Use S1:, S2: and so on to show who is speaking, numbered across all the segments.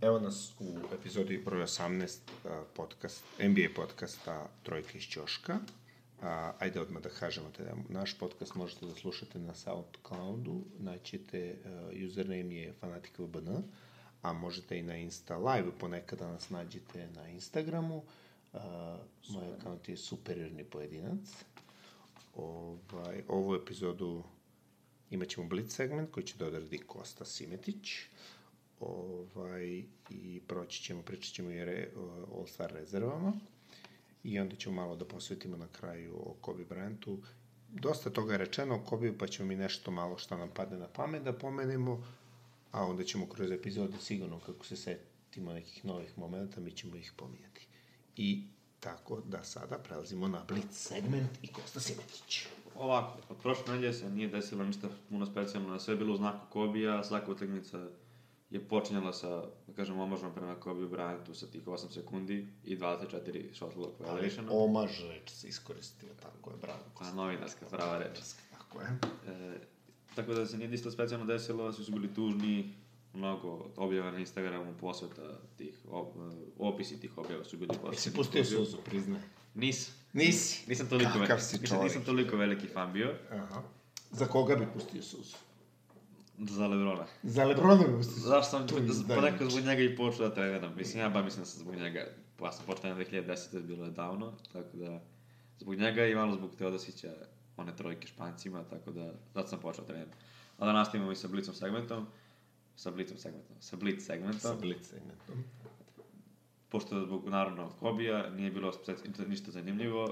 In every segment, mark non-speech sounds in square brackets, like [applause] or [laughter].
S1: Evo nas u epizodi broj 18 uh, podcast, NBA podcasta Trojka iz Ćoška. Uh, ajde odmah da kažemo, teda, naš podcast možete da slušate na SoundCloudu, naćete, uh, username je fanatikvbn, a možete i na Insta live, ponekada nas nađete na Instagramu. Uh, moj akaunt je superiorni pojedinac. Ovaj, ovu epizodu imaćemo blitz segment koji će da odradi Kosta Simetić ovaj, i proći ćemo, pričat ćemo i re, o All Star rezervama i onda ćemo malo da posvetimo na kraju o Kobe Bryantu. Dosta toga je rečeno o Kobe, pa ćemo mi nešto malo šta nam padne na pamet da pomenemo, a onda ćemo kroz epizode sigurno kako se setimo nekih novih momenta, mi ćemo ih pominjati. I tako da sada prelazimo na Blitz segment i Kosta Simetić.
S2: Ovako, od prošle nedelje se nije desilo ništa puno specijalno, sve je bilo u znaku Kobija, svaka utakmica je počinjala sa, da kažem, omažom prema Kobe Bryantu sa tih 8 sekundi i 24 shot clock
S1: Ali
S2: violation.
S1: omaž reč se iskoristio, tako je, bravo. Kosta.
S2: A novinarska prava reč.
S1: Tako je.
S2: E, tako da se nije ništa specijalno desilo, svi su bili tužni, mnogo objava na Instagramu, posveta tih, ob, opisi tih objava su bili posveta.
S1: Jesi pustio suzu, priznaj.
S2: Nisam.
S1: Nisi.
S2: Nisam toliko,
S1: Kakav
S2: veliki,
S1: si
S2: nisam, nisam
S1: čovjek.
S2: toliko veliki fan bio
S1: Aha. Za koga bi pustio suzu?
S2: za Lebrona.
S1: Za Lebrona bi pustio suzu.
S2: Zašto sam
S1: To je
S2: z-
S1: izdajnik.
S2: ponekad zbog njega i počeo da treniram? Mislim, ja ba mislim da sam zbog njega, pa ja sam počeo na 2010. bilo je davno, tako da zbog njega i malo zbog Teodosića, one trojke špancima, tako da zato sam počeo trenirati. A da nastavimo i sa Blitzom segmentom, sa Blitzom segmentom, sa Blitz
S1: Sa
S2: segmentom,
S1: Blitz segmentom.
S2: pošto zbog, naravno, Kobija nije bilo spec- ništa zanimljivo, uh,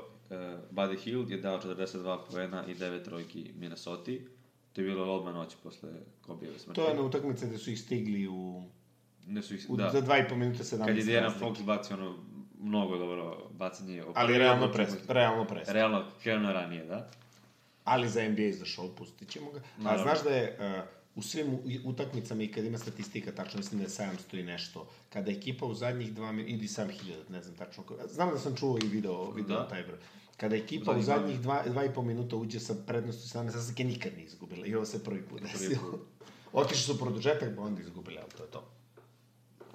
S2: Buddy Hield je dao 42 poena i 9 trojki Minnesota, to je bilo odmah noći posle Kobijeve smrti.
S1: To je ona utakmica gde su ih stigli u...
S2: Ne su ih,
S1: u
S2: da.
S1: Za dva i po minuta 17
S2: Kad je Diana
S1: razlike.
S2: Fox bacio ono, mnogo dobro bacanje.
S1: Ali realno pres, realno pres.
S2: Realno, krenuo ranije, da?
S1: Ali za NBA izašao, pustit ćemo ga. A
S2: Naravno.
S1: znaš da je uh, u svim u- utakmicama i kad ima statistika, tačno mislim da je 700 i nešto, kada je ekipa u zadnjih dva minuta, ili 7000, ne znam tačno ko, znam da sam čuo i video, video
S2: Da.
S1: taj broj. Kada ekipa u
S2: Zadnjih dva
S1: zadnjih dva, dva i po minuta uđe sa prednosti 17, sasvike nikad nije izgubila i ovo se prvi put
S2: Prvi
S1: desilo.
S2: put.
S1: [laughs] Otišli su u produžetak, pa onda izgubili, ali to je to.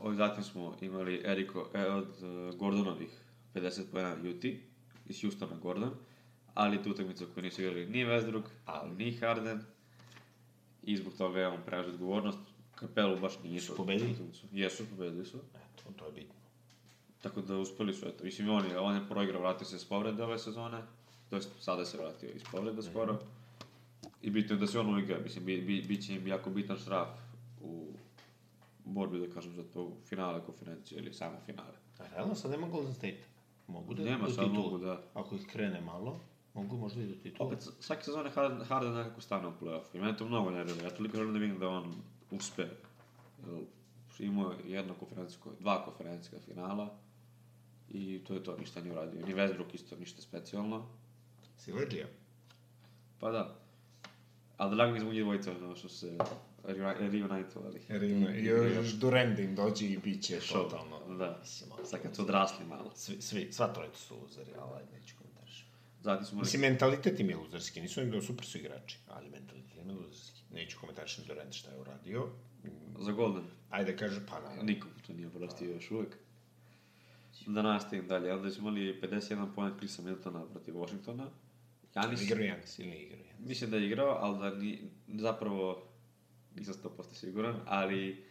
S2: Ovi zatim smo imali Eriko, e, od e, Gordonovih 50 pojena Juti, iz Houstona Gordon, ali tu utakmicu koju nisu igrali ni Westbrook, ali ni Harden, i zbog toga je on preuzeo odgovornost, Kapelu baš nije
S1: Su
S2: išao.
S1: pobedili?
S2: Jesu, pobedili su.
S1: Eto, to je bitno.
S2: Tako da uspeli su, eto. Mislim, on je, on je proigrao, vratio se s povrede ove sezone. To jest, sada se vratio iz povrede skoro. I bitno je da se on uigra, mislim, bi, bi, bit će im jako bitan šraf u borbi, da kažem, za to finale konferencije ili samo finale.
S1: A realno sad nema Golden State. Mogu da
S2: Nema
S1: do
S2: sad
S1: titule?
S2: mogu, da.
S1: Ako ih krene malo, mogu možda i do titula.
S2: Opet, svake sezone Harden, Harden nekako stane u play-off. I mene to mnogo nervira. Ja toliko želim da vidim da on uspe. Jel, imao je jedno konferencijsko, dva konferencijska finala. I to je to, ništa nije uradio. Ni Westbrook isto, ništa specijalno.
S1: Si leđija?
S2: Pa da. Ali drago mi je zbog njih dvojica, ono što su se reuni- reunitovali.
S1: Još Durende im dođe i bit će
S2: Show.
S1: totalno.
S2: Da.
S1: Mislim,
S2: Sad kad su odrasli malo.
S1: Svi, svi, sva trojica su uzeri, ali ajde, neću komentarš.
S2: Zatim smo...
S1: Mislim, mentalitet im je luzerski, nisu im da super su igrači, ali mentalitet im je luzerski. Neću komentarš ni Durende šta je uradio.
S2: Za Golden.
S1: Ajde, kaže, pa naravno.
S2: Nikom to nije oprostio još uvek. Da nastavim dalje. Onda smo imali 51 poen Chrisa Miltona protiv Washingtona. Janis,
S1: Igrao Janis ili ne igrao Janis?
S2: mislim da je igrao, ali da ni, zapravo nisam 100% siguran, ali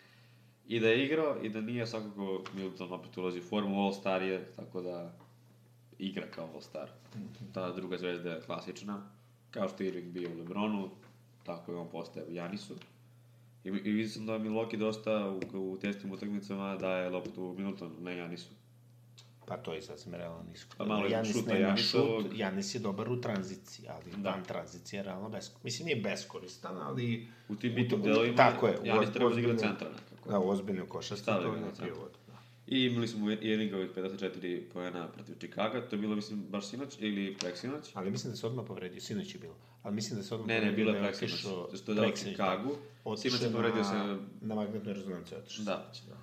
S2: i da je igrao i da nije svakako Milton opet ulazi u formu, All-Star je, tako da igra kao All-Star.
S1: Mhm.
S2: Ta druga zvezda je klasična, kao što je Irving bio u Lebronu, tako je on postaje u Janisu. I, i vidio sam da Milwaukee dosta u, u testnim utakmicama daje loptu Miltonu, ne Janisu.
S1: Pa to je sasvim realno nisko.
S2: Pa malo je
S1: Janis
S2: šuta
S1: nema
S2: Janisovog.
S1: šut, Janis je dobar u tranziciji, ali
S2: Da.
S1: van tranzicije je realno beskoristan. Mislim, nije beskoristan, ali...
S2: U tim
S1: to-
S2: bitnim
S1: u-
S2: delovima
S1: Tako je. u
S2: Janis treba da igra
S1: ozbiljnoj-
S2: centra nekako.
S1: Da, u ozbiljnoj košarci
S2: Stavio
S1: to
S2: ga
S1: je
S2: na
S1: neki
S2: centar.
S1: uvod. da.
S2: I imali smo Irvingovih 54 poena protiv Čikaga, to je bilo, mislim, baš sinoć ili preksinoć.
S1: Ali mislim da se odmah povredio, sinoć je bilo. Ali mislim da se odmah
S2: Ne, ne, bilo je
S1: da
S2: preksinoć,
S1: otišao-
S2: zato što je dao
S1: preksinoć,
S2: Chicagu.
S1: da.
S2: Sinoć
S1: Otišao
S2: je povredio
S1: na-
S2: se-
S1: Na magnetnoj rezonanci je otišao.
S2: Da.
S1: sinoć, Da.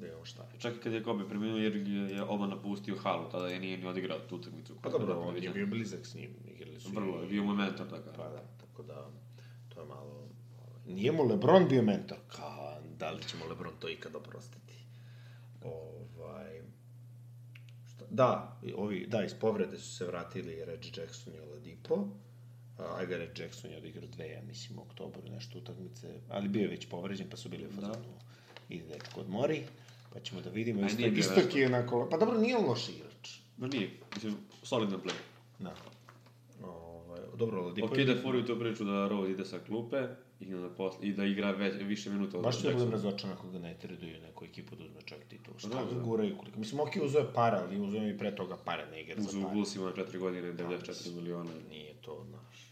S1: Da je ovo šta je.
S2: Čak i kad je Kobe preminuo, Irving je, je odmah napustio halu, tada je nije ni odigrao tu utakmicu.
S1: Pa dobro, on je bio blizak s njim, igrali su. i-
S2: Vrlo, je bio mu mentor, tako.
S1: Pa da, tako da, to je malo... ovaj, Nije mu Lebron bio mentor, kao, da li će mu Lebron to ikad oprostiti? Ovaj, šta, da, i ovi, da, iz povrede su se vratili Reggie Jackson i Oladipo. A, Ajde, Reggie Jackson je odigrao dve, ja mislim, u oktobru, nešto utakmice, ali bio je već povređen, pa su bili u
S2: Da.
S1: fazonu. Ide dečko odmori, pa ćemo da vidimo.
S2: A
S1: Isto,
S2: nije bio
S1: isto
S2: nešto.
S1: je na kola. Pa dobro, nije on loš igrač.
S2: No nije, mislim, solidan play.
S1: Da. Ovaj, dobro, Oladipo
S2: Ok, da fori u tu priču da Rose ide sa klupe i, onda posle, i da igra već, više minuta od
S1: Baš ću da budem
S2: Jacksona.
S1: razočan ako ga ne treduju neku ekipu da uzme čak titulu. Šta
S2: da,
S1: ga
S2: da.
S1: guraju koliko? Mislim, ok, uzeo je para, ali uzeo je i pre toga pare, ne igra za Da.
S2: Uz u
S1: pare.
S2: Bullsima 4 godine, 94 miliona.
S1: Nije to, znaš.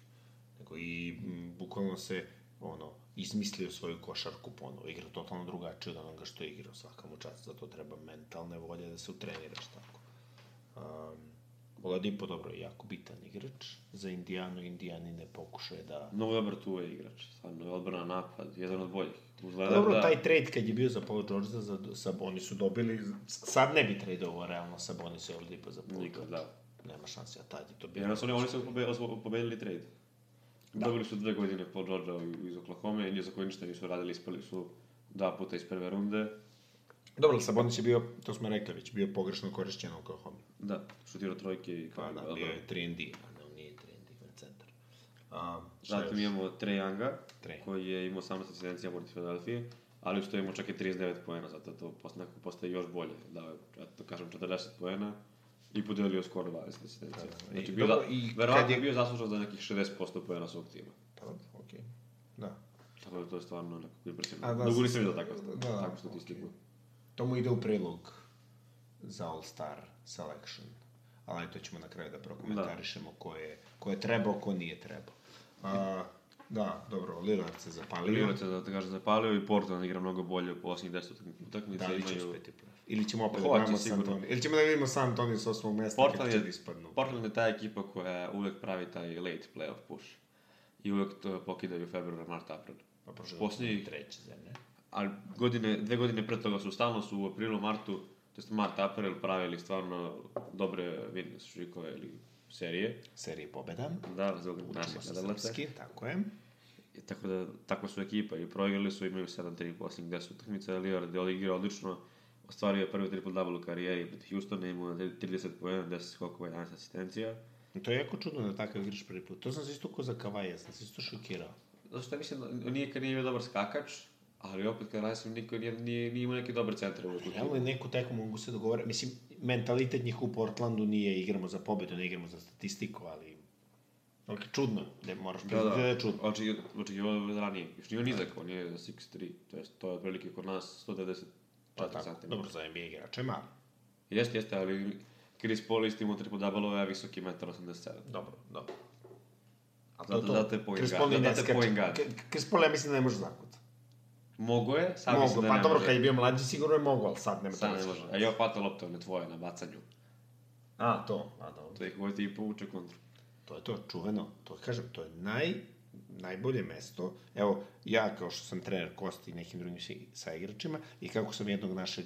S1: Nego i m, bukvalno se, ono, izmislio svoju košarku ponovo. Igra totalno drugačije od onoga što je igrao. Svaka mu čast, zato treba mentalne volje da se utreniraš tako. Um, Oladipo, dobro, je jako bitan igrač. Za Indijanu, Indijani ne pokušaju da...
S2: Mnogo dobar tu je igrač, stvarno je odbrana napad, jedan od boljih. Uzgleda
S1: Pa dobro,
S2: da...
S1: taj trade kad je bio za Paul George za Saboni su dobili, sad ne bi tradeovao realno Sabonis i Oladipo za Paul
S2: Nikad,
S1: George.
S2: da.
S1: Nema šanse, a tad je to
S2: Jer
S1: bilo.
S2: nas oni, oni su pobe, osvo- pobedili trade. Da. Dobili su dve godine Paul George-a u- iz Oklahoma, i za koje ništa nisu radili, ispali su dva puta iz prve runde.
S1: Dobro, Sabonis je bio, to smo rekli već, bio pogrešno korišćen u Oklahoma.
S2: Da, šutirao trojke i
S1: Pa
S2: kao...
S1: da, bio je 3 and D, a ne, on nije 3 and D, on je centar. A, šta
S2: Zatim
S1: još?
S2: imamo Trae Younga,
S1: Trae.
S2: koji je imao 18 asistencija protiv Filadelfije, ali što je imao čak i 39 poena, zato to post, nekako postaje još bolje. Dao je, ja to kažem, 40 poena i podelio skoro 20 asistencija.
S1: Da, da.
S2: Znači,
S1: I
S2: bio,
S1: dobro,
S2: za,
S1: i kad
S2: verovatno
S1: je-
S2: je bio zaslužan za nekih 60% poena svog tima.
S1: Pa, okej. Da.
S2: Tako da to je stvarno nekako impresivno.
S1: A da,
S2: Dugo
S1: s-
S2: nisam vidio tako,
S1: da, da,
S2: tako statistiku.
S1: To mu ide u prilog za All-Star selection. Ali to ćemo na kraju da prokomentarišemo ko, je, ko je trebao, ko nije trebao. A, da, dobro, Lillard se zapalio.
S2: Lillard se, da te kažem, zapalio i Portland igra mnogo bolje u posljednjih 10 utakmica.
S1: Da li će
S2: imaju-
S1: uspeti? Ili ćemo opet da
S2: Hoće,
S1: gledamo San
S2: sigurno.
S1: Antonio? Ili ćemo da vidimo San Antonio s osmog mesta
S2: Portland
S1: kako će
S2: je-
S1: da ispadnu?
S2: Portland je ta ekipa koja uvek pravi taj late playoff push. I uvek to pokidaju februar, mart, april.
S1: Pa prošle
S2: Posljednji-
S1: godine treće zemlje.
S2: Ali godine, dve godine pre toga su stalno su u aprilu, martu, to jest mart, april pravili stvarno dobre vidne šikove ili serije.
S1: Serije pobeda.
S2: Da, zbog
S1: Učimo
S2: naših
S1: se
S2: gledalaca.
S1: srpski, tako je.
S2: I Tako da, tako su ekipa i proigrali su, imaju 7-3 u posljednjih 10 utakmica, Lillard je odigrao odlično, ostvario je prvi triple-double u karijeri protiv Houstona, imao je 30 pojena, 10 skokova, 11 asistencija.
S1: To je jako čudno da takav igrač prvi put. To sam se isto ko za Kavaja, sam se isto šokirao.
S2: Zato što ja mislim, da nije kad nije bio dobar skakač, ali opet kad rasim niko nije, nije, nije imao neke dobre centre u
S1: Realno je neku teku mogu se dogovore. Mislim, mentalitet njih u Portlandu nije igramo za pobedu, ne igramo za statistiku, ali... Ok, čudno, ne moraš
S2: Da,
S1: priznati da, je
S2: da,
S1: čudno.
S2: oči, oči, ovo ranije, još nije on nizak, on je 6'3, to jest, to je otprilike kod nas 194
S1: Pa tako,
S2: cm.
S1: dobro za NBA igrače, malo.
S2: Jeste, jeste, ali Chris Paul isti imao triple double, ja visoki 1,87 m.
S1: Dobro, dobro. A
S2: Zato- zato je point
S1: Chris
S2: guard,
S1: Paul ni
S2: zato
S1: ne
S2: je
S1: skače.
S2: point guard.
S1: K- Chris Paul, ja mislim da ne može zakuta.
S2: Mogo je, sad
S1: Mogu,
S2: mislim da
S1: pa
S2: ne
S1: dobro,
S2: može.
S1: kad je bio mlađi sigurno je mogu, ali sad nema
S2: Sad
S1: to
S2: ne može. A jo, pata lopta, one tvoje na bacanju.
S1: A, to, a dobro.
S2: To ih uvojte i povuče kontru.
S1: To je to, čuveno. To kažem, to je naj, najbolje mesto. Evo, ja kao što sam trener Kosti i nekim drugim si- sa igračima i kako sam jednog našeg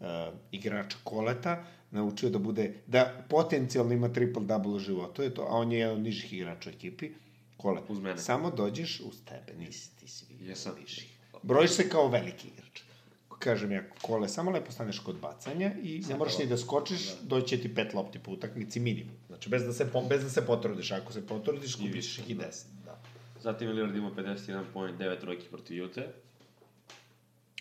S1: uh, igrača koleta naučio da bude, da potencijalno ima triple-double u životu, je to, a on je jedan od nižih igrača u ekipi, kolet.
S2: Uz mene.
S1: Samo dođeš uz tebe, nisi, ti si vidio
S2: Jesam.
S1: viših. Brojiš se kao veliki igrač. Kažem ja, kole, samo lepo staneš kod bacanja i ne moraš ni da skočiš, doći će ti pet lopti po utakmici minimum. Znači, bez da se, po, bez da se potrudiš. Ako se potrudiš, kupiš
S2: više,
S1: ih i deset. Da.
S2: Zatim je Lillard imao 51 poen, 9 trojki protiv Ute.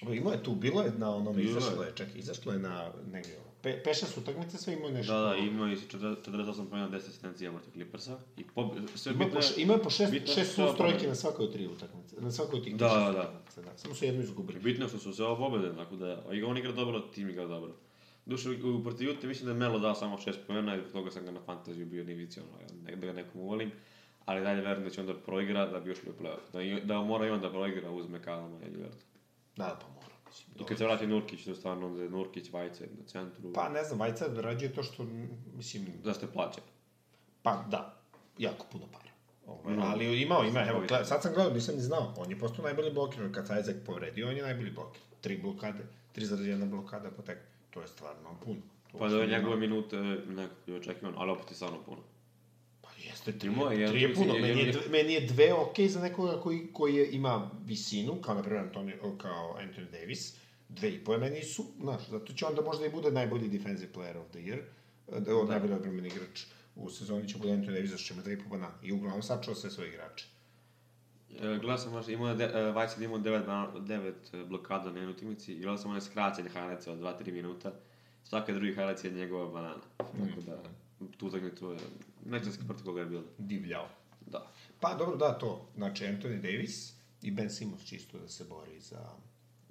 S1: Ovo, imao je tu, bilo je na onom,
S2: Bilo je.
S1: izašlo je, čak, izašlo je na negdje ovo. Pe, peša su utakmice, sve imao je nešto.
S2: Da, da, imao je 48 poena, 10 asistencija protiv Clippersa. I pob... sve
S1: Ima
S2: bitno
S1: po,
S2: je...
S1: š- imao je po šest,
S2: bitno je
S1: šest
S2: što je
S1: strojki
S2: pobeda.
S1: na svakoj od tri utakmice. Na svakoj od tih
S2: Da,
S1: šest
S2: da, da.
S1: utakmica, da. Samo su jednu izgubili.
S2: Bitno je što su se ovo pobede, tako da i on igra dobro, tim igra dobro. Duše, u protiv Ute mislim da je Melo dao samo 6 poena i zbog toga sam ga na fantaziju bio ni vicio, ono, ne- da ga nekom uvolim. Ali dalje verujem da će onda proigra da bi ušli u playoff. Da, i- da mora i on da proigra uz Mekalama i Lillarda.
S1: Da, pa mora. Mislim,
S2: I kad se vrati Nurkić, to je stvarno onda je Nurkić, Vajce na centru.
S1: Pa ne znam, Vajca dorađuje to što, m, mislim,
S2: Da ste plaćeni.
S1: pa da, jako puno para. Ovaj,
S2: Mm.
S1: ali imao, ima, evo, gle- sad sam gledao, nisam ni znao, on je postao najbolji blokiran, kad se Isaac povredio, on je najbolji blokiran. Tri blokade, 3,1 blokada po tek, to je stvarno puno. To
S2: Pa da je
S1: uopšte
S2: njegove
S1: nema-
S2: minute nekako je očekivan, ali opet je stvarno puno.
S1: Pa jeste, tri,
S2: Imao je,
S1: je,
S2: ja
S1: tri je
S2: mislim,
S1: puno,
S2: je-
S1: meni je,
S2: je-
S1: dve, meni je dve okej za nekoga koji, koji je, ima visinu, kao na primjer Antonio, o, kao Anthony Davis, dve i po meni su, znaš, zato će onda možda i bude najbolji defensive player of the year, e, da, da. najbolji odbrambeni igrač u sezoni će bude Anthony Davis, što ima dve i po banana. I uglavnom sačuo sve svoje igrače.
S2: E, Gledao sam, znaš, imao je de, e, Vajcid imao 9, ban, 9 e, blokada na jednoj utakmici i gledao sam onaj skraćen highlights od 2-3 minuta. Svaka drugi highlights je njegova banana. Tako da, tu utakmicu je, neću da se protiv koga je bilo.
S1: Divljao.
S2: Da.
S1: Pa dobro, da, to. Znači, Anthony Davis i Ben Simmons čisto da se bori za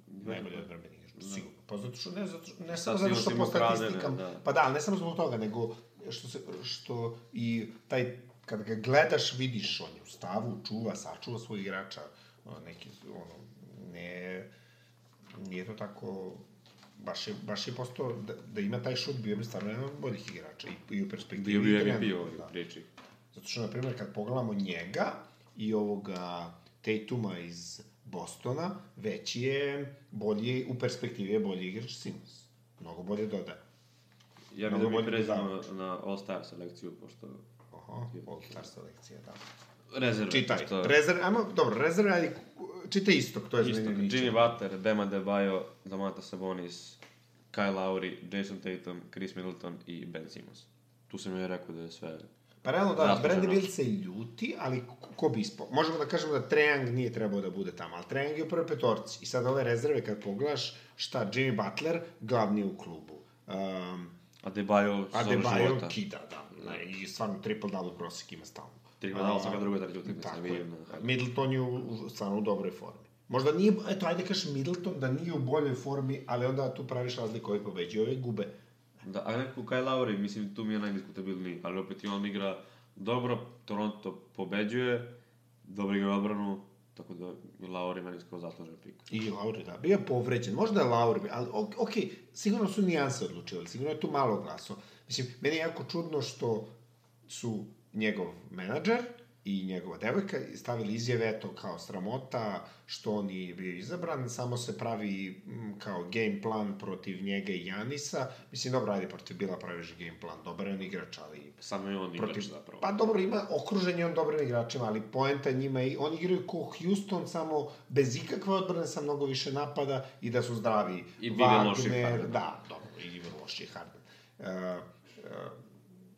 S1: najbolji odbrambeni igrač.
S2: Da.
S1: Sigurno. Pa zato što ne, zato, što- ne samo zato
S2: Simmons
S1: što
S2: ima
S1: po
S2: ukradene,
S1: statistikama,
S2: da.
S1: pa da, ali ne samo zbog toga, nego što, se, što i taj, kad ga gledaš, vidiš, on je u stavu, čuva, sačuva svoj igrača, ono, neki, ono, ne, nije to tako, baš je, baš je postao, da, da ima taj šut, bio bi stvarno jedan od boljih igrača i, i u perspektivi.
S2: Bio bi
S1: i
S2: MVP u
S1: trenutno,
S2: ovoj
S1: da.
S2: priči.
S1: Zato što, na primjer, kad pogledamo njega i ovoga Tatuma iz Bostona, već je bolji, u perspektivi je bolji igrač Simmons. Mnogo bolje dodaje.
S2: Ja
S1: Mnogo
S2: bih da mi
S1: bolji
S2: pređemo
S1: zamač.
S2: na All-Star selekciju, pošto...
S1: Aha, all-star selekcija, da.
S2: Rezerve.
S1: Čitaj,
S2: pošto-
S1: rezerv, ajmo, dobro, rezerv, ali čitaj istok, to je
S2: Isto,
S1: zanimljivo.
S2: Jimmy Butler, Bema Debajo, Zamata Sabonis, Kyle Lowry, Jason Tatum, Chris Middleton i Ben Simmons. Tu sam joj rekao da je sve...
S1: Pa realno da,
S2: Zasluženo.
S1: Bradley Beal se ljuti, ali ko- ko bi ispo... Možemo da kažemo da Trejang nije trebao da bude tamo, ali Trejang je u prvoj petorci. I sad ove rezerve kad pogledaš, šta, Jimmy Butler glavni je u klubu. Um,
S2: A Debajo sa
S1: Adebayo
S2: života.
S1: kida, da. Ne, I stvarno triple-double prosek ima stalno.
S2: Triple-double
S1: A,
S2: svaka druga, da treća utakmica,
S1: Tako
S2: vidim
S1: je.
S2: na highlights.
S1: Middleton je u, u, stvarno u dobroj formi. Možda nije, eto, ajde kažeš Middleton da nije u boljoj formi, ali onda tu praviš razliku ovi pobeđuju, ovi gube.
S2: Da, a nekako Kyle Lowry, mislim, tu mi je najdiskutabilniji, ali opet i on igra dobro, Toronto pobeđuje, dobro igra odbranu, tako da je Lowry meni skoro zaslužen pik.
S1: I Lauri, da, bio je povređen. Možda je Lauri, ali ok, ok, sigurno su nijanse odlučivali, sigurno je tu malo glaso. Mislim, meni je jako čudno što su njegov menadžer i njegova devojka stavili izjave, eto, kao sramota, što on je bio izabran, samo se pravi mm, kao game plan protiv njega i Janisa. Mislim, dobro, ajde, protiv Bila praviš game plan, dobar je on igrač, ali
S2: Samo je on igrač
S1: protiv...
S2: zapravo.
S1: Pa dobro, ima okružen je on dobrim igračima, ali poenta njima je, oni igraju ko Houston, samo bez ikakve odbrane sa mnogo više napada i da su zdravi.
S2: I bili loši Harden.
S1: Da, dobro, i loši Harden. E, e,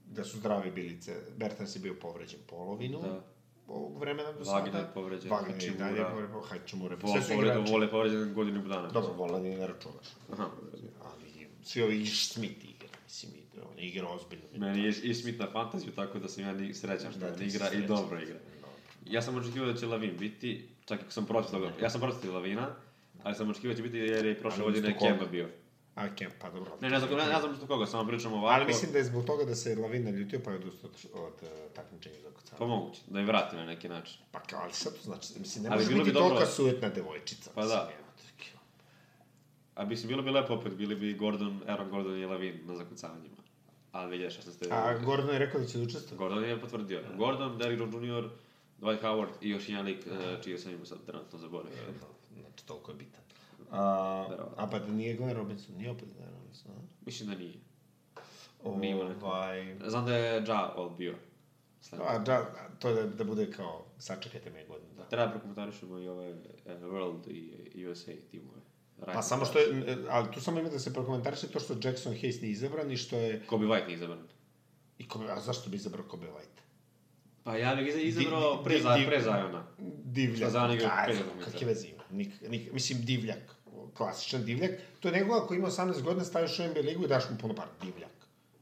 S1: da su zdravi bilice. Bertans je bio povređen polovinu da.
S2: Da.
S1: ovog vremena do sada.
S2: Wagner je povređen,
S1: Wagner je i dalje
S2: Hachimura.
S1: povređen, pa Hachimura.
S2: Vol,
S1: Sve su
S2: povredu,
S1: igrači.
S2: vole povređen godinu i po dana.
S1: Dobro, volan je ne računaš.
S2: Aha.
S1: Ali svi ovi i Smith igra, mislim, i- on igra ozbiljno.
S2: Meni je i Smith na fantaziju, tako da sam ja ni srećan što
S1: Da,
S2: on
S1: ti si
S2: igra i
S1: srećan.
S2: dobro igra.
S1: Da.
S2: Ja sam očekivao da će Lavin biti, čak i sam protiv toga, ja sam protiv Lavina, ali sam očekivao da će biti jer je prošle
S1: Ali
S2: godine
S1: isto koga?
S2: Kemba bio.
S1: A Kemp, pa dobro.
S2: Ne, ne znam, ne, ne znam što koga, samo pričam ovako.
S1: Ali mislim da je zbog toga da se Lavin naljutio pa je odustao od, od uh, takmičenja za
S2: Pa
S1: kocana.
S2: moguće, da je vrati na neki način.
S1: Pa kao, ali šta to znači? Mislim, ne
S2: Ali
S1: može
S2: bilo
S1: biti
S2: bi dobro- da-
S1: tolika sujetna devojčica.
S2: Pa
S1: mislim,
S2: da.
S1: jebote, kao.
S2: A mislim, bilo bi lepo opet, bili bi Gordon, Aaron Gordon i Lavin na zakucavanjima. Ali 2016.
S1: A
S2: godine.
S1: Gordon je rekao da će da učestvovati.
S2: Gordon je potvrdio. Gordon, Derrick Jones Jr., Dwight Howard i još jedan lik, eh, čije sam imao sad trenutno zaboravio.
S1: Znači, toliko je bitan. A,
S2: Verovatno.
S1: a pa da nije Glenn Robinson, nije opet Glenn Robinson, a?
S2: Mislim da nije. Nije imao neko.
S1: Ovaj...
S2: Znam da je Ja Wall bio. Slam.
S1: A, da, to da, da bude kao, sačekajte me godinu. Da.
S2: Treba prokomentarišemo i ove eh, World i i USA timove.
S1: Pa samo
S2: da.
S1: što je, e, ali tu samo ima da se prokomentariše to što Jackson Hayes nije izabran i što je,
S2: Kobe White nije izabran.
S1: i Kobe, a zašto bi izabrao Kobe White?
S2: Pa ja bih iza-
S1: di-
S2: izabrao pre,
S1: di-
S2: za,
S1: di-
S2: pre Zajona.
S1: Divljak.
S2: Šta za onih
S1: Da,
S2: pet utakmica?
S1: Kakve veze ima? Nik, nik, mislim, divljak. Klasičan divljak. To je nego ako ima 18 godina, staviš u NBA ligu i daš mu puno para. Divljak.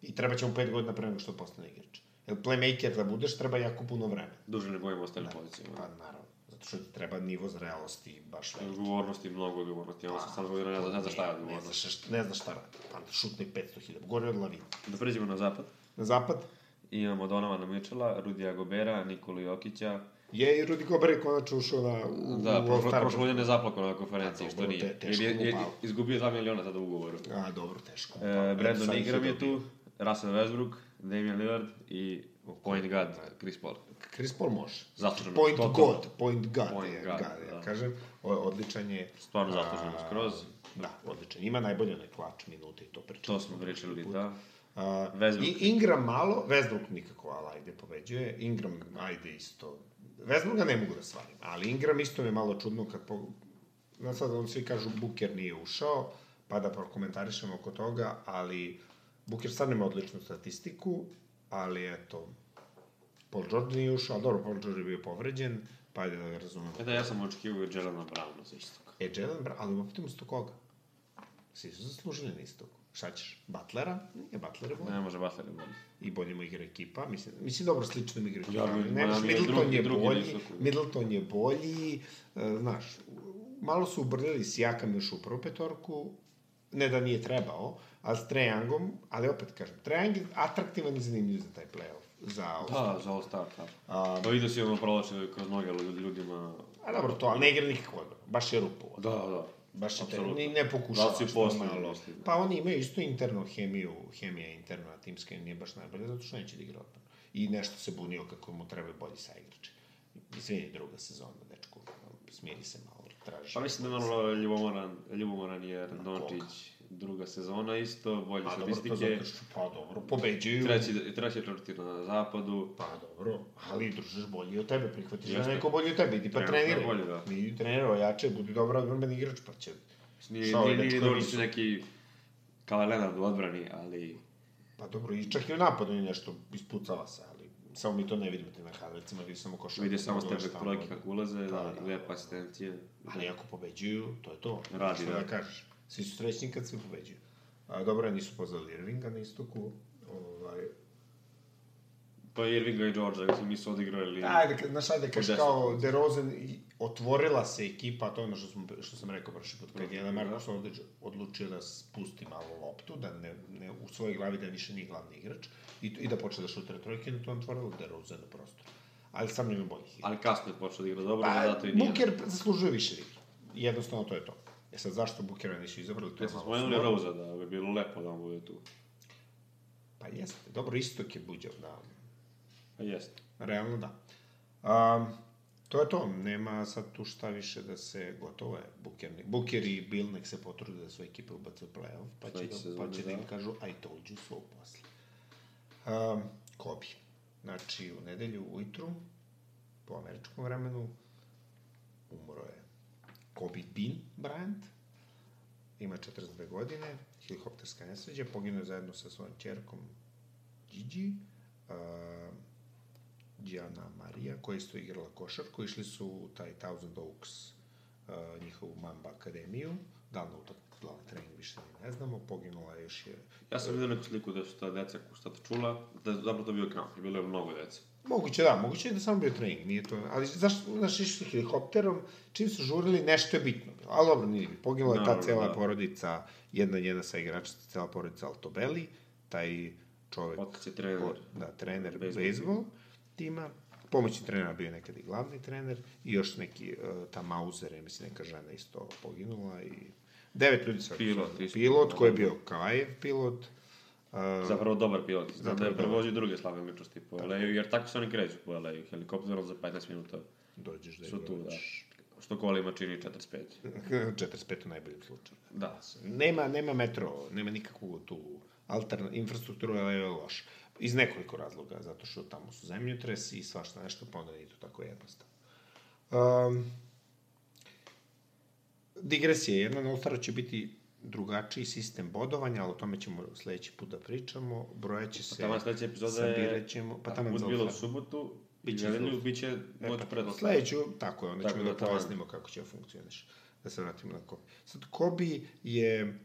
S1: I treba će mu 5 godina pre nego što postane igrač. Jer playmaker da budeš, treba jako puno vremena.
S2: Duže nego ovim ostalim pozicijama.
S1: Pa naravno. Zato što ti treba nivo zrelosti baš veliki.
S2: Odgovornosti, mnogo odgovornosti. Ono sam sam godina, ne zna- ne zna šta je
S1: Ne
S2: odgovornost.
S1: znaš, šta- ne znaš šta radi. Pa šutne 500.000. Gore od lavina.
S2: Da pređemo na zapad.
S1: Na zapad
S2: Imamo Donovana Mitchella, Rudija Gobera, Nikolu Jokića.
S1: je i Rudi Gober je konačno ušao na, u,
S2: Da,
S1: u
S2: prošlo,
S1: All-Star.
S2: prošlo godine je zaplakao na konferenciji,
S1: A,
S2: što
S1: dobro,
S2: nije.
S1: te- teško
S2: Jer je-
S1: mu
S2: jer je
S1: palo.
S2: izgubio 2 miliona tada u ugovoru.
S1: A, dobro, teško.
S2: E, Brandon
S1: Pa, Sad ih
S2: Ingram je
S1: dobio.
S2: tu, Russell Westbrook, Damian Lillard i point guard Chris Paul.
S1: Chris Paul može.
S2: Zasluženo.
S1: Point
S2: Totalno.
S1: god, point god,
S2: Point
S1: je,
S2: guard,
S1: god,
S2: da.
S1: ja kažem. O, odličan je.
S2: Stvarno zasluženo
S1: a,
S2: skroz.
S1: Da, odličan. Ima najbolje onaj klač minute i to pričamo.
S2: To smo pričali, da.
S1: A,
S2: Westbrook.
S1: I Ingram malo, Westbrook nikako, ali ajde, pobeđuje. Ingram, ajde isto. Westbrooka ne mogu da svarim, ali Ingram isto mi je malo čudno kad po... na sad on svi kažu Buker nije ušao, pa da prokomentarišemo oko toga, ali Buker stvarno ima odličnu statistiku, ali eto, Paul Jordan nije ušao, ali dobro, Paul Jordan je bio povređen, pa ajde da ga razumemo.
S2: E da, ja sam očekivao Jelena Browna za istok.
S1: E, Jalen Brown, ali opet isto koga? Svi su zaslužili na istoku. Šta ćeš? Butlera? Nije, Butler je bolji.
S2: Ne može Butler da je bolji.
S1: I bolje mu igra ekipa. Mislim, mislim dobro, slično mu igra ekipa.
S2: Ja,
S1: ali ne,
S2: Miami
S1: znaš,
S2: je
S1: Middleton
S2: drugi-
S1: je
S2: drugi na
S1: bolji,
S2: istoku.
S1: Middleton je bolji, e, znaš, malo su ubrljali s Jakam još u prvu petorku, ne da nije trebao, ali s Trejangom, ali opet kažem, Trejang je atraktivan i zanimljiv za taj playoff. Za ovo.
S2: Da, za All-Star, da.
S1: A,
S2: Pa vidio si ono prolače kroz noge ljudi- ljudima.
S1: a dobro, to, ali ne igra nikako odbor, baš je rupo.
S2: Da, da.
S1: Baš je te,
S2: Apsolutno.
S1: ni, ne
S2: Da
S1: pokušavaš.
S2: li si
S1: to je
S2: poslao,
S1: malo.
S2: mislim, da.
S1: Pa oni imaju isto internu hemiju, hemija interna timska nije baš najbolja, zato što neće da igra odbranu. I nešto se bunio kako mu treba bolji saigrač. Izvini, druga sezona, dečko, smiri se malo, traži.
S2: Pa mislim da je malo ljubomoran, ljubomoran je Dončić. Druga sezona isto, bolje
S1: pa dobro, to
S2: da, statistike.
S1: zato što, pa dobro, pobeđuju.
S2: Treći, treći četvrti na zapadu.
S1: Pa dobro, ali družiš bolji od tebe, prihvatiš da
S2: Jeste.
S1: neko bolji od tebe, idi pa
S2: Trenutno je
S1: treniraj.
S2: bolji, da.
S1: Idi treniraj, jače, budi dobar odbran igrač, pa će...
S2: Nije,
S1: Šta ovi
S2: nije, nije
S1: dečko
S2: dobro
S1: nisu?
S2: su neki kao Lenard u odbrani, ali
S1: Pa dobro, i čak i u napadu je nešto ispucava se, ali samo mi to ne vidimo te na highlightsima, vidio samo košarku.
S2: vidi samo
S1: pogledaš
S2: stebe
S1: tamo.
S2: trojke kako ulaze,
S1: Da,
S2: da,
S1: da.
S2: lepa asistencija.
S1: Ali ako pobeđuju, to je to.
S2: Radi,
S1: Šta da.
S2: da.
S1: kažeš. Svi su srećni kad svi pobeđuju. A, dobro, nisu pozvali Irvinga na istoku. Ovaj,
S2: Pa Irvinga i Georgia, mislim, nisu odigrali.
S1: ajde, ka- znaš, ajde, kaš
S2: deset.
S1: kao DeRozan, i- otvorila se ekipa, to je ono što, smo, što sam rekao prošli put, kad je
S2: Da.
S1: Lamarcus Aldridge odlučio da spusti malo loptu, da ne, ne u svojoj glavi da više nije glavni igrač, i, i da počne da šutira trojke, no to je otvorilo DeRozan na prostoru. Ali sam nema boljih
S2: Ali kasno je počeo da igra dobro,
S1: Pa,
S2: zato i nije.
S1: Buker zaslužuje više ligi. Jednostavno to je to. E sad, zašto Bukera nisu izabrali? To je
S2: Kad smo
S1: malo
S2: spomenuli
S1: sporno.
S2: Rosa, da bi bilo lepo da on bude tu.
S1: Pa jeste. Dobro, istok je buđav, da.
S2: Pa jeste.
S1: Realno da. Um, to je to. Nema sad tu šta više da se gotovo je. Buker, ne- Buker i Bill nek se potrude da svoje ekipe ubace u play-off, pa će,
S2: Sledeće
S1: da, pa
S2: sezone,
S1: će da im
S2: da.
S1: kažu I told you so posle. Um, Kobi. Znači, u nedelju ujutru, po američkom vremenu, umro je Kobe Bean Bryant, ima 42 godine, helikopterska nesređa, poginuo je zajedno sa svojom čerkom Gigi, uh, Gianna Marija, koja je isto igrala košarku, išli su u taj Thousand Oaks, uh, njihovu mamba akademiju, da li na utakmicu, da li na trening, više ni ne znamo, poginula je još je...
S2: Ja sam vidio neku sliku da su ta deca šta to čula, da je zapravo to bio kamp, i bilo je mnogo dece.
S1: Moguće da, moguće je da samo bio trening, nije to... Ali zašto, znaš, išli su helikopterom, čim su žurili, nešto je bitno bilo. Ali dobro, nije bitno. Poginula je ta
S2: Naravno,
S1: cela
S2: da.
S1: porodica, jedna njena sa igračica, cela porodica Altobeli, taj čovek...
S2: Otac je trener.
S1: ko- Da, trener
S2: Bejzbol.
S1: bejzbol tima. Pomoćni trener bio je nekad i glavni trener i još neki, uh, ta Mauser, ja mislim, neka žena isto poginula i... Devet ljudi svaki.
S2: Pilot
S1: su-
S2: isto.
S1: Pilot, koji je bio Kavajev pilot. Uh,
S2: Zapravo dobar pilot, znam da
S1: Zapravo
S2: je
S1: dobar.
S2: prevozio druge slavne ličnosti po la jer tako se oni kreću po la helikopterom za 15 minuta
S1: dođeš da
S2: su tu, da.
S1: igraš.
S2: Što kolima čini 45.
S1: [laughs] 45 u najboljem slučaju.
S2: Da.
S1: Nema, nema metro, nema nikakvu tu alterna, infrastrukturu LA je loš. Iz nekoliko razloga, zato što tamo su zemljotresi i svašta nešto, pa onda nije to tako jednostavno. Um, digresija je jedna, na All-Staru će biti drugačiji sistem bodovanja, ali o tome ćemo sledeći put da pričamo. Brojaće se,
S2: Pa Tamo je sledeća epizoda je,
S1: sabirat ćemo, pa
S2: pa
S1: tamo je za
S2: bilo u
S1: All-Star.
S2: subotu,
S1: Biće
S2: biće nedelju,
S1: izlaz.
S2: biće
S1: E,
S2: noć
S1: pa,
S2: pred All-Star.
S1: Sledeću, tako je, onda
S2: Tako
S1: ćemo
S2: da
S1: da
S2: tamo-
S1: pojasnimo kako će da funkcioniš. Da se vratimo na Kobe. Sad, Kobe je,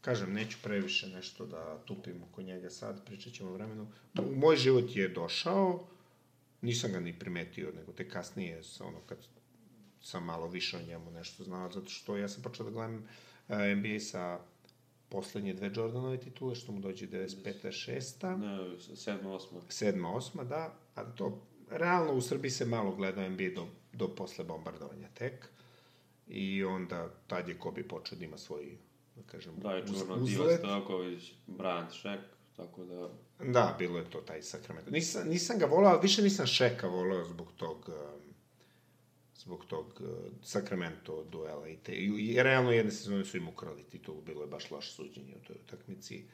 S1: kažem, neću previše nešto da tupim oko njega sad, pričat ćemo o vremenu. U moj život je došao, nisam ga ni primetio, nego te kasnije, s- ono, kad sam malo više o njemu nešto znao, zato što ja sam počeo da gledam e, NBA sa poslednje dve Jordanove titule, što mu dođe 95. 6
S2: Ne, 7. 8.
S1: sedma, osma, da, a to, realno u Srbiji se malo gleda NBA do, do posle bombardovanja tek, i onda tad je Kobe počeo da ima svoj, da kažem,
S2: Da je
S1: uz-
S2: čuveno Divac da. Stojković, Bryant Šek, tako da...
S1: Da, bilo je to taj Sacramento. Nisam, nisam ga volao, ali više nisam Šeka volao zbog tog em, zbog tog eh, Sacramento duela i te. I, i realno jedne sezone su im ukrali titulu, bilo je baš loše suđenje u toj utakmici.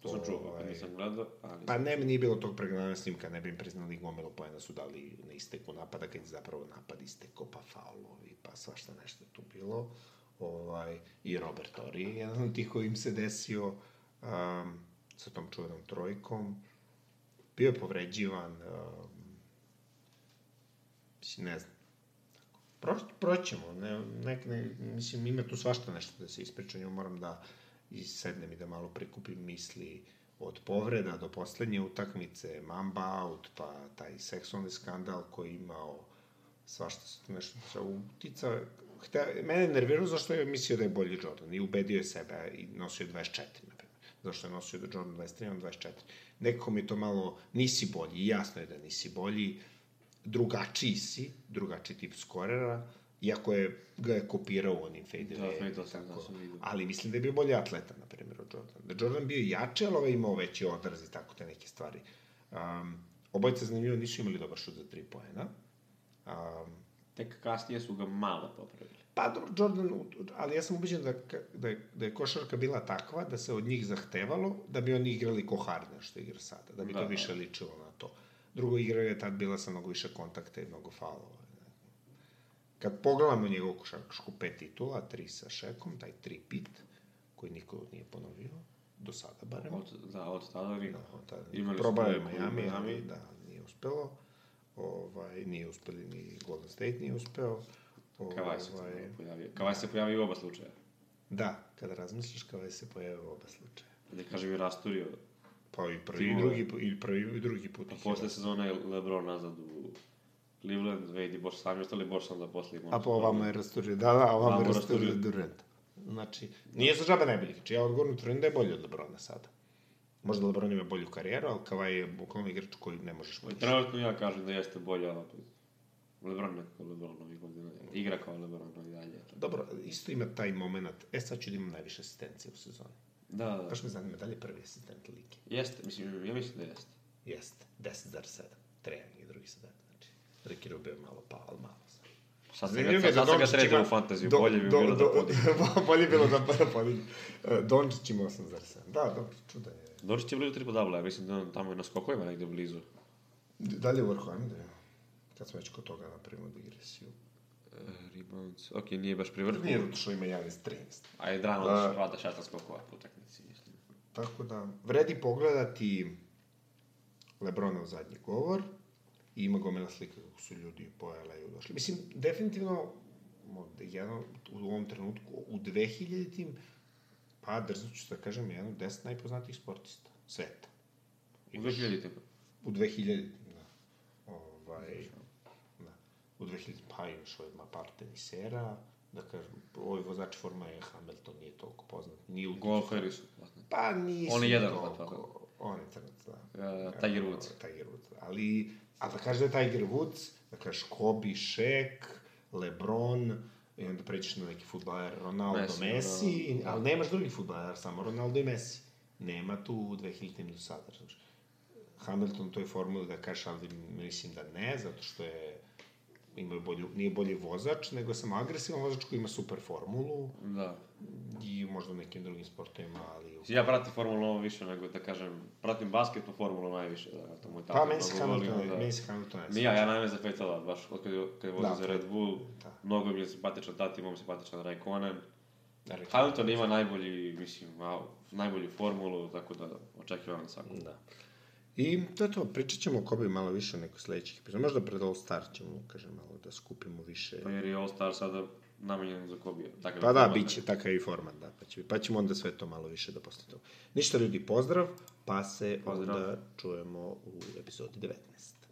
S2: To sam čuo,
S1: Ovaj,
S2: pa nisam gledao, ali...
S1: Pa ne, nije bilo tog pregledanja snimka, ne bi im priznali gomilu poena su dali na isteku napada, kad je zapravo napad istekao, pa faulovi, pa svašta nešto je tu bilo. ovaj, i Robert Ori, jedan od tih koji im se desio um, sa tom čuvenom trojkom. Bio je povređivan, um, mislim, ne znam. Proć, proćemo, ne, ne, ne, mislim, ima tu svašta nešto da se ispriča, njom moram da i sednem i da malo prikupim misli od povreda do poslednje utakmice, Mamba out, pa taj seksualni skandal koji je imao svašta se tu nešto se utica. Hte, mene je nervirao zašto je mislio da je bolji Jordan i ubedio je sebe i nosio je 24, na primjer. Zašto je nosio da Jordan 23, on 24. Nekako mi je to malo, nisi bolji, jasno je da nisi bolji, drugačiji si, drugačiji tip skorera, iako je, ga je kopirao u onim fadeaway.
S2: Da, fade sam, da
S1: tako.
S2: sam vidio.
S1: Ali mislim da je bio bolji atleta, na primjer, od Jordan. Da je Jordan bio jače, ali ovaj imao veći odraz i tako te neke stvari. Um, obojica zanimljivo nisu imali dobar šut za tri poena. Um,
S2: Tek kasnije su ga malo popravili.
S1: pa dobro, Jordan, u- ali ja sam ubeđen da, ka- da, je, da je košarka bila takva da se od njih zahtevalo da bi oni igrali ko Harden što igra sada, da bi
S2: Da,
S1: to
S2: da.
S1: više ličilo na to. Drugo, igra je tad bila sa mnogo više kontakta i mnogo faulova. Kad pogledamo njegovu košarkašku pet titula, tri sa Šekom, taj tri pit, koji niko nije ponovio, do sada barem.
S2: Od, da, od tada vi.
S1: Da, tada.
S2: Imali
S1: Imali
S2: su
S1: Probao je
S2: neku u
S1: Miami,
S2: Miami.
S1: ali da, nije uspelo. Ovaj, nije uspeli ni Golden State nije uspeo.
S2: Kavaj se ovaj... pojavio. Kavaj se pojavio u oba slučaja.
S1: Da, kada razmisliš kao je se pojavio u oba slučaja.
S2: Ne Da kažem i rasturio.
S1: Pa i prvi i
S2: Timove.
S1: drugi, pu- i prvi i drugi put.
S2: Pa
S1: ih je da.
S2: posle
S1: raz-
S2: sezone je LeBron nazad u Cleveland, Wade i Boš sami ostali, Boš onda posle imao.
S1: A po ovamo je rasturio, da, da, ovamo
S2: Ovamo
S1: je rasturio
S2: rasturio.
S1: Durant. Znači, nije za džaba najbolji igrač. Ja odgovorno tvrdim da je bolji od Lebrona sada. Možda Lebron ima bolju karijeru, ali Kavaj je bukvalno igrač koji ne možeš
S2: Pa i
S1: moći.
S2: Trenutno ja kažem da jeste bolje, ali opet. LeBron nekako LeBron ovih godina. Igra kao LeBron i dalje.
S1: Dobro, isto ima taj moment, e sad ću da imam najviše asistencije u sezoni.
S2: Da, da.
S1: Baš me zanima, da li je prvi asistent Liki?
S2: Jeste, mislim, ja mislim da jeste.
S1: Jeste, 10,7. Trening i drugi sadatak, znači. Ricky Rubio je malo pao, ali malo. sad.
S2: Sad se
S1: Zanimljivo
S2: ga,
S1: je da
S2: sad se ga
S1: Dončić
S2: trete
S1: ima-
S2: u fantaziju,
S1: Do-
S2: bolje bi
S1: do-
S2: bilo da
S1: do-
S2: podigne.
S1: [laughs] bolje bi bilo da da podigne. E, Dončić ima 8,7. Da, dobro, čudan je.
S2: Dončić je blizu triple double, ja mislim da je on tamo je na skokovima negde blizu.
S1: Da li je Warhammer? Da. Kad smo već kod toga napravimo digresiju.
S2: E, rebounds, ok, nije baš pri vrhu.
S1: Nije zato što ima Janis 13.
S2: A je Drano
S1: Da.
S2: da. hvata 16 skokova po utakmici, mislim.
S1: Tako da, vredi pogledati Lebronov zadnji govor i ima gomila slika kako su ljudi po LA-u došli. Mislim, definitivno, možda jedno, u ovom trenutku, u 2000-tim, pa drznut ću da kažem, jedan od 10 najpoznatijih sportista sveta.
S2: U 2000 tipa.
S1: U 2000, da. Ovaj, da. U 2000, pa imaš ovaj, ma par tenisera, da kažem, ovaj vozač Formula 1 Hamilton nije toliko poznat. Nije u
S2: Gol Harrisu.
S1: Pa nisi
S2: On je jedan od
S1: toliko.
S2: toliko.
S1: On je crnac, da.
S2: Uh, Tiger Woods.
S1: Tiger Woods. Ali, a da kažeš da je Tiger Woods, da kažeš Kobe, Shaq, Lebron, i onda pređeš na neki futbaler Ronaldo,
S2: Messi,
S1: Messi, Messi i, ali nemaš drugih futbalera, samo Ronaldo i Messi. Nema tu 2000 do sada, razumiješ. Hamilton u toj formuli da kažeš, ali mislim da ne, zato što je imaju bolju, nije bolji vozač, nego je samo agresivan vozač koji ima super formulu
S2: Da.
S1: i možda u nekim drugim sportovima, ali... u-
S2: Mislim, Ja pratim Formulu 1 više nego, da kažem, pratim basketnu Formulu najviše. Da, to moj tata
S1: Pa, meni se
S2: mnogo voli,
S1: Hamilton,
S2: onda-
S1: meni se Hamilton ne
S2: Ni ja, ja najme za Fetela, baš od kad, je- kad je vozio
S1: Da,
S2: za Red Bull,
S1: Da.
S2: mnogo mi je simpatičan tati, imam simpatičan Raikkonen.
S1: Naravno.
S2: Hamilton ima najbolji, mislim, au- najbolju formulu, tako da očekivam svakog.
S1: Da. I to je to, pričat ćemo o Kobe malo više u nekoj sledećih epizoda. Možda pred All Star ćemo, kažem, malo da skupimo više.
S2: Pa jer je All Star sada namenjen za Kobija. Takav
S1: Pa
S2: je
S1: da,
S2: format,
S1: bit će takav i format, da. Pa, će, pa ćemo onda sve to malo više da poslije toga. Ništa ljudi, pozdrav, pa se
S2: Pozdrav.
S1: onda čujemo u epizodi 19.